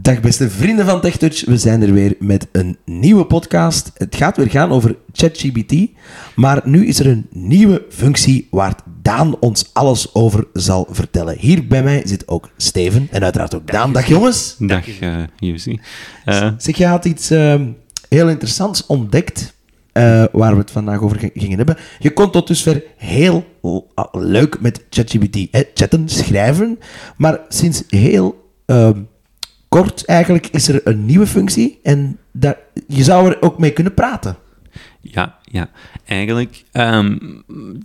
Dag beste vrienden van TechTouch, we zijn er weer met een nieuwe podcast. Het gaat weer gaan over ChatGPT, maar nu is er een nieuwe functie waar Daan ons alles over zal vertellen. Hier bij mij zit ook Steven en uiteraard ook Daan. Dag jongens. Dag, eh Jussi. Eh, Zeg, je had iets ehm, heel interessants ontdekt eh, waar we het vandaag over g- gingen hebben. Je kon tot dusver heel l- ah, leuk met ChatGPT hè, chatten, schrijven, maar sinds heel ehm, kort eigenlijk is er een nieuwe functie en daar, je zou er ook mee kunnen praten. ja, ja. Eigenlijk, ehm,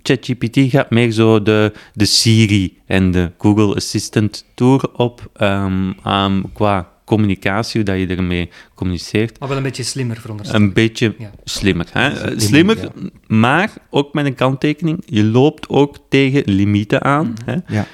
ChatGPT gaat meer zo de, de Siri en de Google Assistant tour op ehm, ehm, qua communicatie, hoe dat je ermee communiceert. Maar wel een beetje slimmer, veronderstel Een ik. beetje Ja. slimmer. Hè? Eh, een Slimmer, ding, maar ook met een kanttekening, je loopt ook tegen limieten aan. Hè? Ja.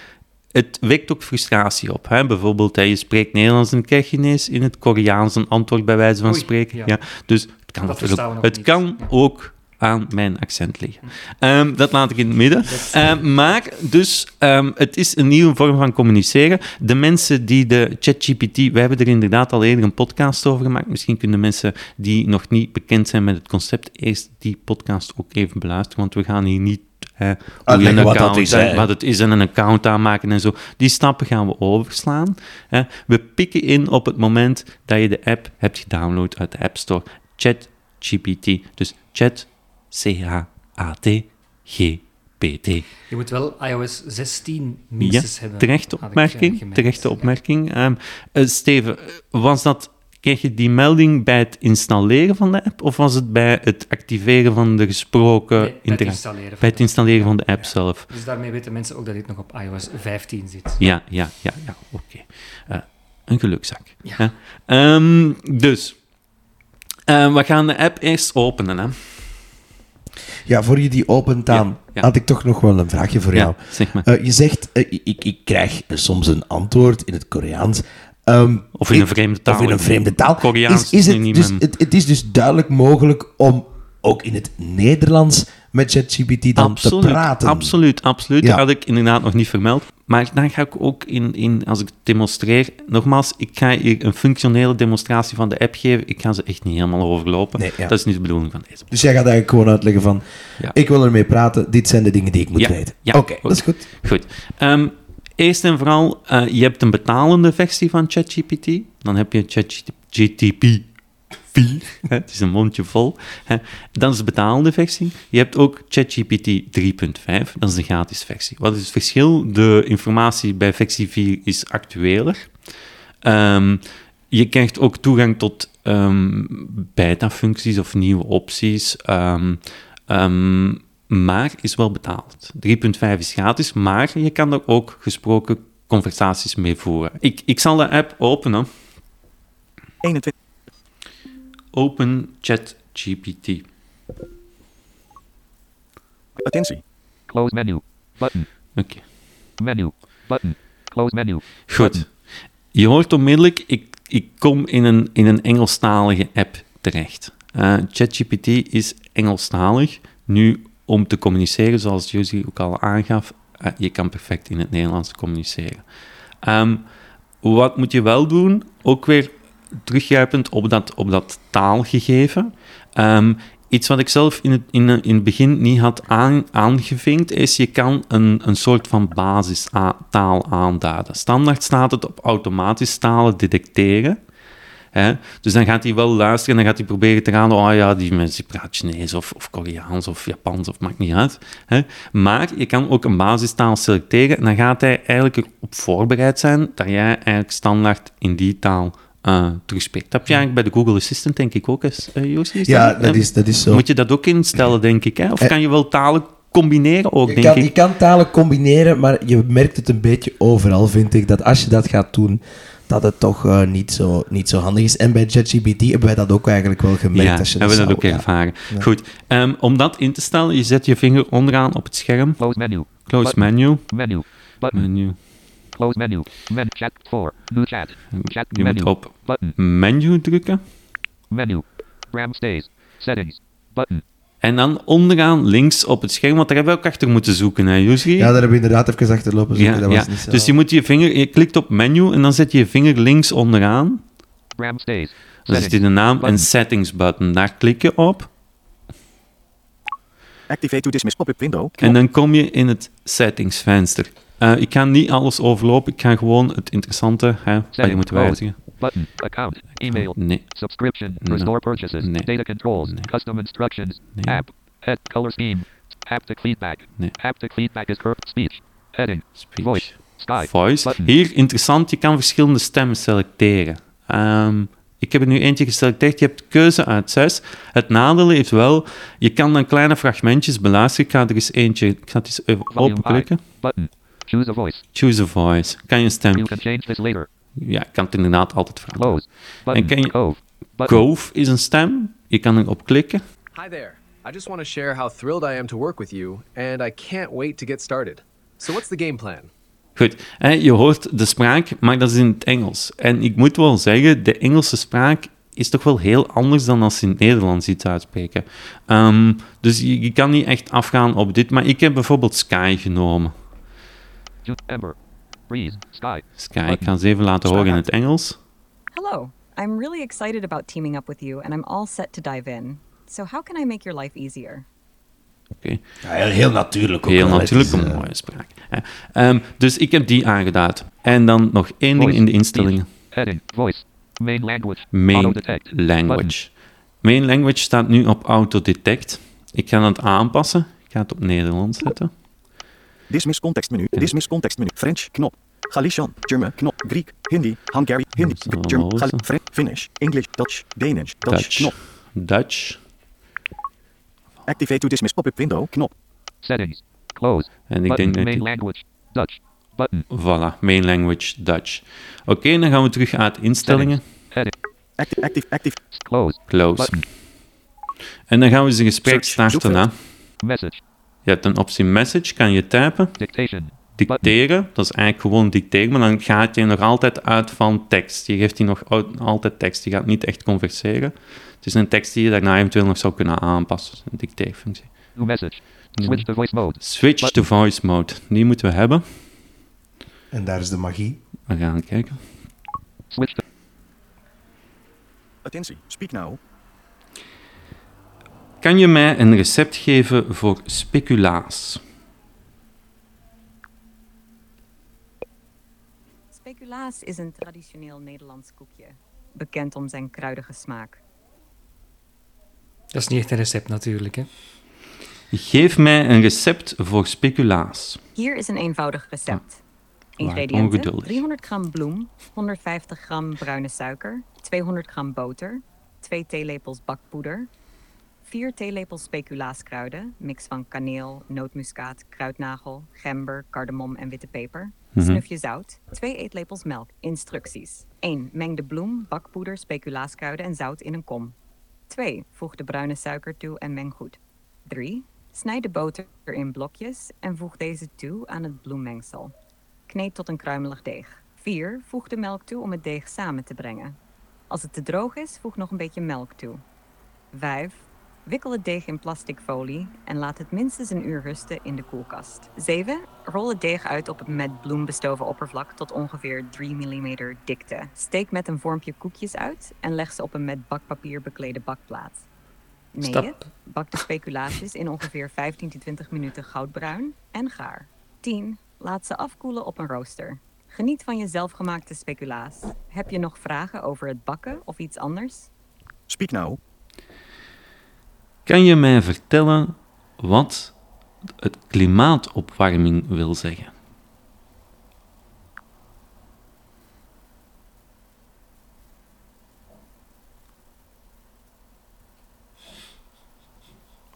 het wekt ook frustratie op. Hè? Bijvoorbeeld, hè, je spreekt Nederlands en krijg je ineens in het Koreaans een antwoord bij wijze van Oei, spreken. Ja. ja. Dus het kan, natuurlijk- Dat verstaan we nog het niet. kan Ja. ook aan mijn accent liggen. Ehm, dat laat ik in het midden. Ehm, maar dus, ehm, het is een nieuwe vorm van communiceren. De mensen die de ChatGPT, we hebben er inderdaad al eerder een podcast over gemaakt. Misschien kunnen mensen die nog niet bekend zijn met het concept eerst die podcast ook even beluisteren, want we gaan hier niet hè, hoe je Uitleggen een wat dat account- is, hè. wat het is en een account aanmaken en zo. Die stappen gaan we overslaan. hè. We pikken in op het moment dat je de app hebt gedownload uit de App Store. ChatGPT. Dus Chat C-H-A-T-G-P-T. Je moet wel iOS 16 Ehm, Ja, minstens hebben. terechte had ik, eh, opmerking. gemerkt. Terechte Ja. opmerking. Ehm, eh, Steven, was dat, kreeg je die melding bij het installeren van de app of was het bij het activeren van de gesproken Nee, bij het interactie? installeren van eh, Bij het de- installeren van de app zelf. Dus daarmee weten mensen ook dat dit nog op iOS 15 zit. Ja, ja, ja, ja, oké. Eh, een gelukzak. Ja. hè. Ehm, dus, Eh, we gaan de app eerst openen. Hè? ja, voor je die opent aan, Ja, ja. had ik toch nog wel een vraagje voor jou. zeg maar. Eh, je zegt, eh, ik, ik krijg soms een antwoord in het Koreaans. Ehm, Of in een vreemde taal. Of in een vreemde taal. Koreaans is, is is nu het, niet dus, mijn- het, het is dus duidelijk mogelijk om ook in het Nederlands met ChatGPT dan te praten. Absoluut, absoluut. Ja. Dat had ik inderdaad nog niet vermeld. Maar daar ga ik ook in, in, als ik het demonstreer... Nogmaals, ik ga hier een functionele demonstratie van de app geven. Ik ga ze echt niet helemaal overlopen. Nee, ja. Dat is niet de bedoeling van deze. Dus jij gaat eigenlijk gewoon uitleggen van, Ja. ik wil ermee praten, dit zijn de dingen die ik moet Ja, weten. ja, Oké, oké. dat is goed. Goed. Ehm, eerst en vooral, eh, je hebt een betalende versie van ChatGPT. Dan heb je ChatGTP. Het is een mondje vol. hè. Dan is de betalende versie. Je hebt ook ChatGPT 3.5, dat is de gratis versie. Wat is het verschil? De informatie bij versie 4 is actueler. Ehm, je krijgt ook toegang tot ehm, beta-functies of nieuwe opties. Ehm, ehm, maar is wel betaald. 3.5 is gratis, maar je kan er ook gesproken conversaties mee voeren. Ik, ik zal de app openen. 21. Open ChatGPT. Attentie. Close menu. Button. Oké, Menu. Button. Close menu. goed. Je hoort onmiddellijk, ik, ik kom in een, in een Engelstalige app terecht. Eh, ChatGPT is Engelstalig. Nu, om te communiceren, zoals Josie ook al aangaf, eh, je kan perfect in het Nederlands communiceren. Ehm, wat moet je wel doen? Ook weer teruggrijpend op dat, op dat taalgegeven. Ehm, iets wat ik zelf in het, in, in het begin niet had aan, aangevinkt, is je kan een, een soort van basistaal aanduiden. Standaard staat het op automatisch talen detecteren. Hè? Dus dan gaat hij wel luisteren en dan gaat hij proberen te gaan. Oh ja, die mensen die praat Chinees of, of Koreaans of Japans of maakt niet uit. Hè? Maar je kan ook een basistaal selecteren en dan gaat hij eigenlijk erop voorbereid zijn dat jij eigenlijk standaard in die taal eh terugspreekt. Dat heb je eigenlijk bij de Google Assistant denk ik ook eens, eh, Joost, is Ja, dat- dat eh, is, dat is zo. Moet je dat ook instellen, denk ik. Hè? Of Eh, kan je wel talen combineren ook, Je denk kan, ik. je kan talen combineren, maar je merkt het een beetje overal, vind ik, dat als je dat gaat doen, dat het toch eh, niet, zo, niet zo handig is. En bij ChatGPT hebben wij dat ook eigenlijk wel gemerkt. ja, als je hebben we dat zou- ook ja. ervaren. Goed, ehm, om dat in te stellen, je zet je vinger onderaan op het scherm. Close menu. Close Button. menu. Menu. Button. Menu. Close menu. Men chat 4. New chat. Chat Je menu. moet op Button. menu drukken. Menu. Ram stays. Settings. Button. En dan onderaan links op het scherm, want daar hebben we ook achter moeten zoeken, hè, Jusri? Ja, daar hebben we inderdaad even achterlopen. zoeken, Ja, Dus dat was ja. niet zo. Dus je moet je vinger, je klikt op menu en dan zet je je vinger links onderaan. RAM stays. Dan zit in de naam en settings button. Daar klik je op Activate to dismiss pop-up window. en dan kom je in het settings venster. Eh, ik ga niet alles overlopen, ik ga gewoon het interessante, hè, wat je Settings moet mode. wijzigen. Button. Account. Email. Nee, Subscription. No. Restore purchases. No. Data controls. No. Custom instructions. No. App. Head. Color scheme. Haptic feedback. No. Haptic feedback is curved speech. Heading. speech. Voice. Sky. Voice. Button. Hier, interessant, je kan verschillende stemmen selecteren. Ehm, ik heb er nu eentje geselecteerd. Je hebt keuze uit zes. Het nadeel heeft wel, je kan dan kleine fragmentjes beluisteren. Ik ga er eens eentje, ik ga het eens even Volume openklikken. high. Button. Choose a voice. Choose a voice. Kan je een You stem? can change this later. Ja, ik kan het inderdaad altijd veranderen. Close. Button. can you- Cove. Button. Cove is een stem. Je kan erop klikken. Hi there. I just want to share how thrilled I am to work with you, and I can't wait to get started. So, what's the game plan? Goed, hè, je hoort de spraak, maar dat is in het Engels. En ik moet wel zeggen, de Engelse spraak is toch wel heel anders dan als je in het Nederlands iets uitspreken. Ehm, dus je, je kan niet echt afgaan op dit, maar ik heb bijvoorbeeld Sky genomen. Ju- Ember. Breeze. Sky. Sky, ik ga eens even laten horen in het Engels. Hello. I'm really excited about teaming up with you, and I'm all set to dive in. So, how can I make your life easier? Oké. Ja, heel, heel natuurlijk ook. Heel wel, hè. natuurlijk Het is, een eh, mooie spraak. hè. Ehm, dus ik heb die aangeduid. En dan nog één ding Voice. in de instellingen. Speech. Heading. Voice. Main language. Auto Main detect. language. Main language staat nu op autodetect. Ik ga dat aanpassen. Ik ga het op Nederlands zetten. eh, Dismiss contextmenu. Dismiss contextmenu. French knop. Galician, German, knop, Griek, Hindi, Hungary, Hindi, Dat is allemaal German, Gal- losse. French, Finnish, English, Dutch, Danish, Dutch, Dutch. knop. Dutch. Activate to dismiss pop-up window, knop. Settings. Close. En ik Button. denk dat Main ik- language. Dutch. Button. Voilà, main language Dutch. Oké, dan gaan we terug uit instellingen. Heading. Active, active, active. Close. Close. Button. En dan gaan we eens een gesprek Search, starten. Hè. zoekveld. Message. Je hebt een optie message, kan je typen. Dictation. Button. Dicteren, dat is eigenlijk gewoon dicteren, maar dan gaat je nog altijd uit van tekst. Je geeft die nog al- altijd tekst, je gaat niet echt converseren. Het is een tekst die je daarna eventueel nog zou kunnen aanpassen, dus een dicteerfunctie. New message. Mm-hmm. Switch to voice mode. Switch to voice mode, die moeten we hebben. En daar is de magie. We gaan kijken. Switch to Attentie, speak now. Kan je mij een recept geven voor speculaas? Speculaas is een traditioneel Nederlands koekje, bekend om zijn kruidige smaak. Dat is niet echt een recept natuurlijk, hè. Geef mij een recept voor speculaas. Hier is een eenvoudig recept. ongeduldig. Ingrediënten: 300 gram bloem, 150 gram bruine suiker, 200 gram boter, 2 theelepels bakpoeder, 4 theelepels speculaaskruiden, mix van kaneel, nootmuskaat, kruidnagel, gember, kardemom en witte peper, snufje zout, 2 eetlepels melk. Instructies: 1. Meng de bloem, bakpoeder, speculaaskruiden en zout in een kom. 2. Voeg de bruine suiker toe en meng goed. 3. Snijd de boter in blokjes en voeg deze toe aan het bloemmengsel. Kneed tot een kruimelig deeg. 4. Voeg de melk toe om het deeg samen te brengen. Als het te droog is, voeg nog een beetje melk toe. 5. Wikkel het deeg in plastic folie en laat het minstens een uur rusten in de koelkast. 7. Rol het deeg uit op het met bloem bestoven oppervlak tot ongeveer 3 mm dikte. Steek met een vormpje koekjes uit en leg ze op een met bakpapier beklede bakplaat. 9. Stap. Bak de speculaasjes in ongeveer 15 tot 20 minuten goudbruin en gaar. 10. Laat ze afkoelen op een rooster. Geniet van je zelfgemaakte speculaas. Heb je nog vragen over het bakken of iets anders? Speak now. Kan je mij vertellen wat het klimaatopwarming wil zeggen?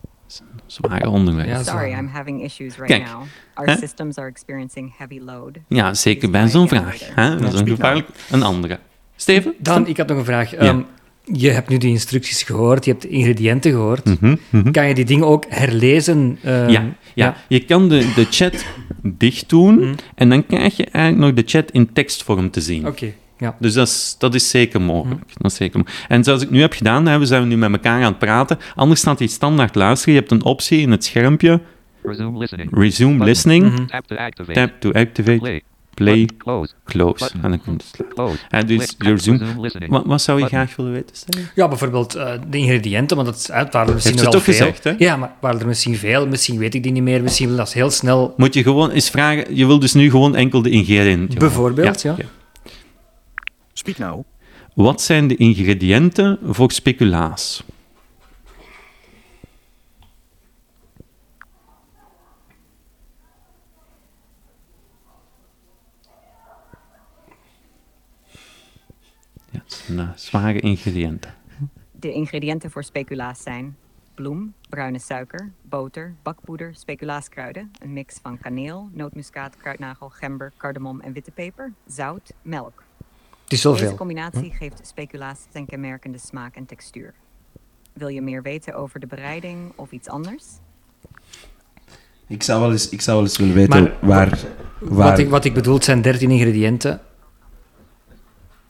Dat is een Zware onderwijs. Ja, Sorry, Sorry. I'm having issues right Kijk, now. Our hè? systems are experiencing heavy load. Ja, zeker bij zo'n vraag. Hè? Dat is een gevaarlijk. Een andere. Steven? Dan, ik had nog een vraag. Ehm, je hebt nu die instructies gehoord, je hebt de ingrediënten gehoord. Kan je die dingen ook herlezen? Ehm, Mhm, ja, ja, je kan de, de chat dicht doen en dan krijg je eigenlijk nog de chat in tekstvorm te zien. Mm. Oké, Mm. ja. Dus dat is, dat is zeker mogelijk. Dat is zeker mo- En zoals ik nu heb gedaan, hè, we zijn nu met elkaar aan het praten. Anders staat die standaard luisteren. Je hebt een optie in het schermpje, resume listening. resume Button. listening, Tap to activate. tap to activate, Play. play, Button. Close. close. Button. En dan kun je het slaan. Close. En dus Click. je zoom. Resume listening. Wat, wat zou je Button. graag willen weten, Stijn? Ja, bijvoorbeeld eh, de ingrediënten, want dat is- eh, het waren er misschien Heeft ze wel toch veel. gezegd, hè? Ja, maar waren er misschien veel. Misschien weet ik die niet meer. Misschien wil dat heel snel. Moet je gewoon eens vragen. Je wil dus nu gewoon enkel de ingrediënten. Bijvoorbeeld, ja. Speak now. Wat zijn de ingrediënten voor speculaas? Ja, het zijn eh, zware ingrediënten. De ingrediënten voor speculaas zijn bloem, bruine suiker, boter, bakpoeder, speculaaskruiden, een mix van kaneel, nootmuskaat, kruidnagel, gember, kardemom en witte peper, zout, melk. Het is wel Deze veel. combinatie geeft speculaas zijn kenmerkende smaak en textuur. Wil je meer weten over de bereiding of iets anders? Ik zou wel eens, ik zou wel eens willen weten Maar- waar... waar Wat ik, wat ik bedoel, het zijn 13 ingrediënten.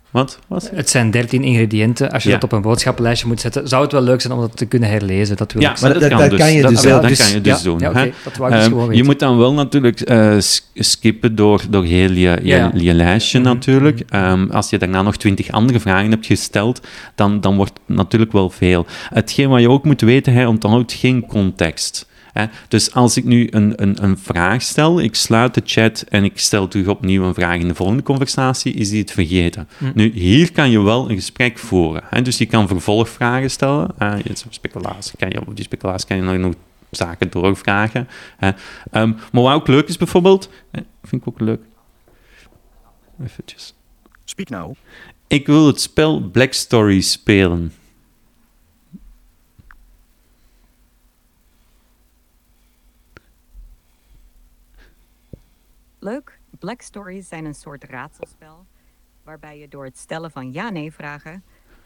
Wat was het? Het zijn 13 ingrediënten. Als je Ja. dat op een boodschappenlijstje moet zetten, zou het wel leuk zijn om dat te kunnen herlezen. Dat wil Ja, ik maar Maar dat- dat, kan dat dus. kan je dat, dus wel, wel. dat Dus- kan je dus ja, doen. ja, oké, hè. dat wou ik dus Ehm, gewoon je weten. moet dan wel natuurlijk eh, s- skippen door, door heel je, je, Ja, Mhm. ja. je lijstje natuurlijk. Ehm, als je daarna nog twintig andere vragen hebt gesteld, dan, dan wordt het natuurlijk wel veel. Hetgeen wat je ook moet weten, hij onthoudt geen context. Hè. Dus als ik nu een, een, een vraag stel, ik sluit de chat en ik stel terug opnieuw een vraag in de volgende conversatie, is die het vergeten. Mhm. Nu, hier kan je wel een gesprek voeren. Hè. Dus je kan vervolgvragen stellen. Eh, je- speculatie kan je, op die speculatie kan je nog- nog zaken doorvragen. Hè. Ehm, maar wat ook leuk is bijvoorbeeld, eh, vind ik ook leuk. Eventjes. Speak now. Ik wil het spel Black Story spelen. Leuk, Black Stories zijn een soort raadselspel waarbij je door het stellen van ja-nee vragen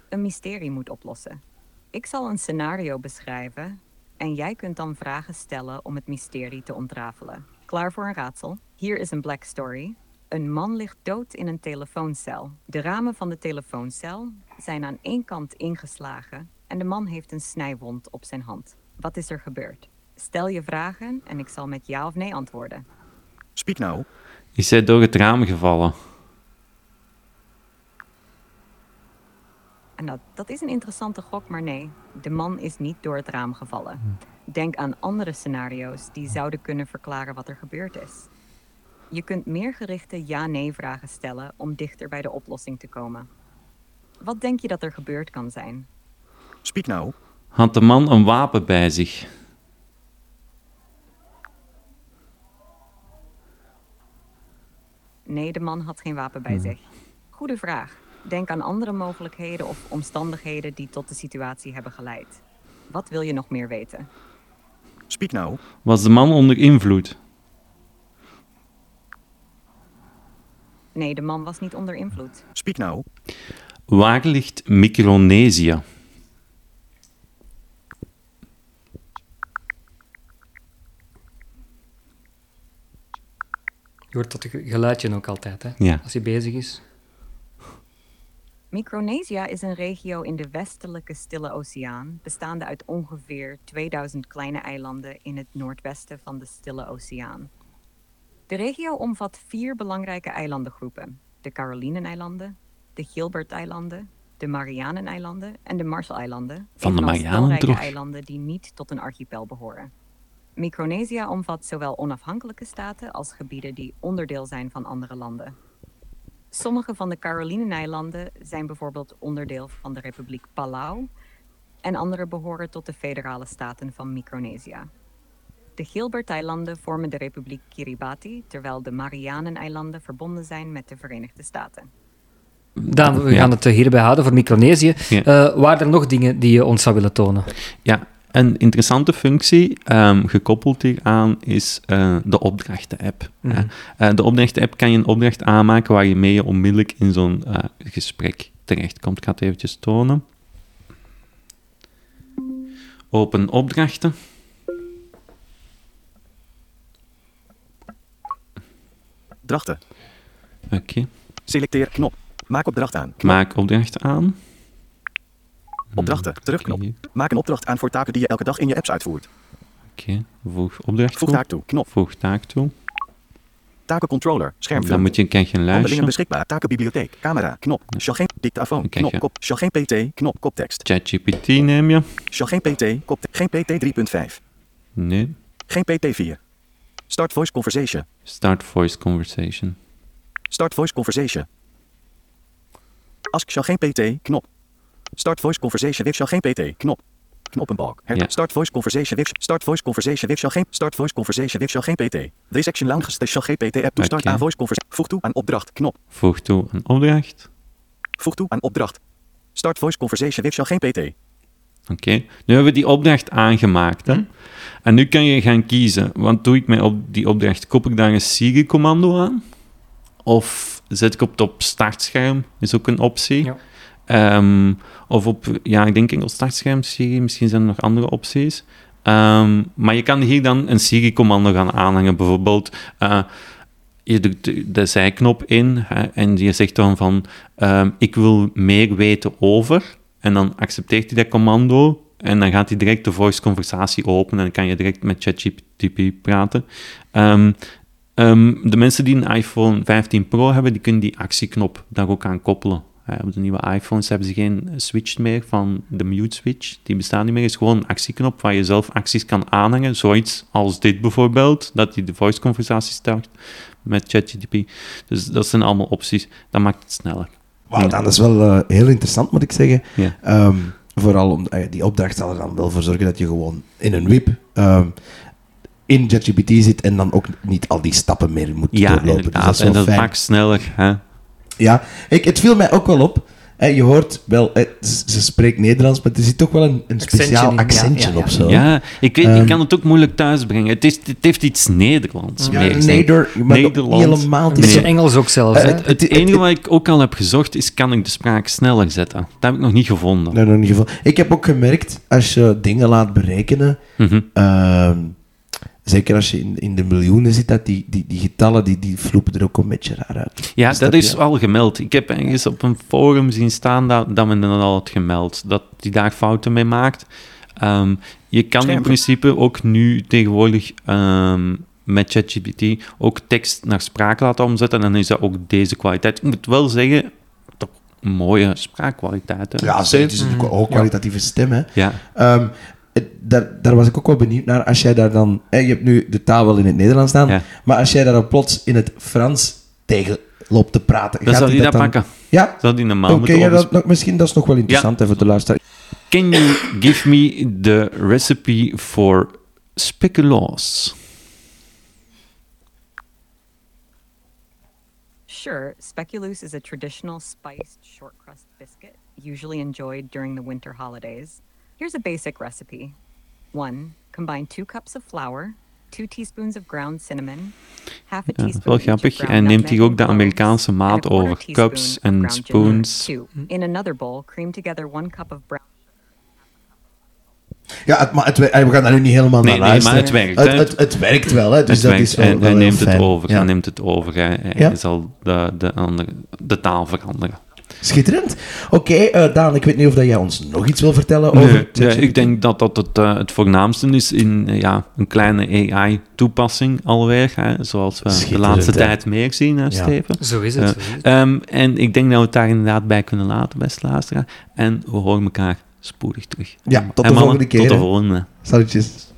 een mysterie moet oplossen. Ik zal een scenario beschrijven en jij kunt dan vragen stellen om het mysterie te ontrafelen. Klaar voor een raadsel? Hier is een Black Story. Een man ligt dood in een telefooncel. De ramen van de telefooncel zijn aan één kant ingeslagen en de man heeft een snijwond op zijn hand. Wat is er gebeurd? Stel je vragen en ik zal met ja of nee antwoorden. Speak now. Is hij door het raam gevallen? En dat, dat is een interessante gok, maar nee, de man is niet door het raam gevallen. Denk aan andere scenario's die zouden kunnen verklaren wat er gebeurd is. Je kunt meer gerichte ja-nee vragen stellen om dichter bij de oplossing te komen. Wat denk je dat er gebeurd kan zijn? Speak now. Had de man een wapen bij zich? Nee, de man had geen wapen bij zich. Goede vraag. Denk aan andere mogelijkheden of omstandigheden die tot de situatie hebben geleid. Wat wil je nog meer weten? Speak now. Was de man onder invloed? Nee, de man was niet onder invloed. Speak now. Waar ligt Micronesië? Je hoort dat ge- geluidje ook altijd, hè? Ja. Als hij bezig is. Micronesia is een regio in de westelijke Stille Oceaan, bestaande uit ongeveer 2000 kleine eilanden in het noordwesten van de Stille Oceaan. De regio omvat vier belangrijke eilandengroepen: de Carolineneilanden, de Gilberteilanden, de Marianeneilanden en de Marshalleilanden. Van de evenals Marianen talrijke terug. eilanden die niet tot een archipel behoren. Micronesia omvat zowel onafhankelijke staten als gebieden die onderdeel zijn van andere landen. Sommige van de Carolineneilanden zijn bijvoorbeeld onderdeel van de Republiek Palau en andere behoren tot de federale staten van Micronesia. De Gilberteilanden vormen de Republiek Kiribati, terwijl de Marianeneilanden verbonden zijn met de Verenigde Staten. Daan, we Ja. gaan het eh, hierbij houden voor Micronesië. Ja. Eh, waren er nog dingen die je ons zou willen tonen? Ja, een interessante functie ehm, gekoppeld hieraan is eh, de opdrachten-app. hè. Eh, de opdrachten-app kan je een opdracht aanmaken waar je mee je onmiddellijk in zo'n eh, gesprek terechtkomt. Ik ga het eventjes tonen. Open opdrachten. Drachten. Oké, Selecteer knop. Maak opdracht aan. maak opdrachten aan. Opdrachten. Terugknop. Hmm. Oké. Maak een opdracht aan voor taken die je elke dag in je apps uitvoert. Oké, voeg opdracht Voeg toe. taak toe. Knop. Voeg taak toe. Takencontroller. Schermvulling. Dan moet je, krijg je een Handelingen lijstje. beschikbaar. Takenbibliotheek. Camera. Knop. Shogeen. Dictafoon. Oké, Knop. ja. Kop. Shogeen PT. Knop. Koptekst. ChatGPT neem je. Shogeen PT. Kop. Geen PT 3.5. Nee. Geen PT 4. Start voice conversation. Start voice conversation. Start voice conversation. Ask Shogeen PT. Knop. Start voice conversation with Shogeen PT. Knop. Knoppenbalk. Her- Ja. Start voice conversation with Start voice conversation with Shogeen. Start voice conversation with Shogeen PT. This action launches the Shogeen PT app to start Oké. a voice conversation. Voeg toe aan opdracht. Knop. Voeg toe een opdracht. Voeg toe aan opdracht. Start voice conversation with Shogeen PT. Oké, nu hebben we die opdracht aangemaakt. Hè? En nu kan je gaan kiezen. Want doe ik mij op die opdracht, kop ik daar een Siri-commando aan? Of zet ik op het op startscherm? Is ook een optie. Ja. Ehm, of op, ja, ik denk enkel startscherm, Siri. Misschien zijn er nog andere opties. Ehm, maar je kan hier dan een Siri-commando gaan aanhangen. Bijvoorbeeld, eh, je doet de- de zijknop in hè, en je zegt dan van ehm, ik wil meer weten over. En dan accepteert hij dat commando en dan gaat hij direct de voice conversatie openen en dan kan je direct met ChatGPT praten. Ehm, ehm, de mensen die een iPhone 15 Pro hebben, die kunnen die actieknop daar ook aan koppelen. Hè, op de nieuwe iPhones hebben ze geen switch meer van de mute switch. Die bestaat niet meer. Het is gewoon een actieknop waar je zelf acties kan aanhangen. Zoiets als dit bijvoorbeeld, dat hij de voice conversatie start met ChatGPT. Dus dat zijn allemaal opties. Dat maakt het sneller. Wauw, dat is wel eh, heel interessant, moet ik zeggen. Ja. Ehm, vooral om, eh, die opdracht zal er dan wel voor zorgen dat je gewoon in een WIP ehm, in ChatGPT zit en dan ook niet al die stappen meer moet Ja, doorlopen. Dus inderdaad. dat is wel en dat fijn. maakt sneller. Hè? Ja, ik, het viel mij ook wel op. Hè, je hoort wel, eh, ze, ze spreekt Nederlands, maar er zit toch wel een, een speciaal in, ja, accentje ja, ja. op zo. Ja, ik weet, Ehm. ik kan het ook moeilijk thuisbrengen. Het, is, het heeft iets Nederlands. Ja, meer, zeg. Neder, maar ook niet Nederland. helemaal. Een die beetje zo- Engels ook zelfs. Eh, hè? het- Het enige wat ik ook al heb gezocht is, kan ik de spraak sneller zetten? Dat heb ik nog niet gevonden. Nee, nog niet gevonden. Ik heb ook gemerkt, als je dingen laat berekenen, Mhm. ehm, zeker als je in, in de miljoenen zit, dat die, die, die getallen die, die vloepen er ook een beetje raar uit. Ja, Snap dat je? is al gemeld. Ik heb ergens op een forum zien staan dat, dat men dat al had gemeld. Dat die daar fouten mee maakt. Ehm, je kan in Schermpje. principe ook nu tegenwoordig ehm, met ChatGPT ook tekst naar spraak laten omzetten. En dan is dat ook deze kwaliteit. Ik moet wel zeggen, toch een mooie spraakkwaliteit. Hè? Ja, zeker. Het is Mm. natuurlijk een hoogkwalitatieve stem, hè. Ja. Ehm, het- daar, daar was ik ook wel benieuwd naar. Als jij daar dan... hè, je hebt nu de taal wel in het Nederlands staan, Ja. maar als jij daar dan plots in het Frans tegen loopt te praten... Dan gaat zal die die dat dan- pakken. Ja? Zal die normaal Oké, moeten ja, overspreken. dat, nog- misschien dat is nog wel interessant hè, voor de luisteraar. Can you give me the recipe for speculoos? Sure, speculoos is a traditional spiced short crust biscuit, usually enjoyed during the winter holidays. Here's a basic recipe 1. Combine 2 cups of flour, 2 teaspoons of ground cinnamon, half a Ja, dat is teaspoon wel each of grappig. ground Hij neemt nutmeg hier ook de and cloves, Amerikaanse and a maat quarter over. teaspoon Cups of en ground ginger. spoons. 2. In another bowl, cream together 1 cup of brown Ja, het, maar het, wer- eh, we gaan daar nu niet helemaal Nee, naar nee, luisteren. maar het werkt, hè. Het, het, het werkt wel, hè. Dus Het dat werkt. is wel- hij, wel hij heel neemt het fijn. over. Ja. Hij neemt het over. Hij, hij Ja. zal de, de, andere, de taal veranderen. Schitterend. Oké, eh, Daan, ik weet niet of dat jij ons nog iets wil vertellen Nee, over... ja, ik denk dat dat het, eh, het voornaamste is in eh, ja, een kleine AI-toepassing alweer. Hè, zoals we de Schitterend, laatste hè. tijd meer zien, hè, Steven. Zo is het. Ja. zo is het. Ehm, en ik denk dat we het daar inderdaad bij kunnen laten, beste luisteraar. En we horen elkaar spoedig terug. Ja, tot de En mannen, volgende keer, Tot de hè. volgende. Salutjes.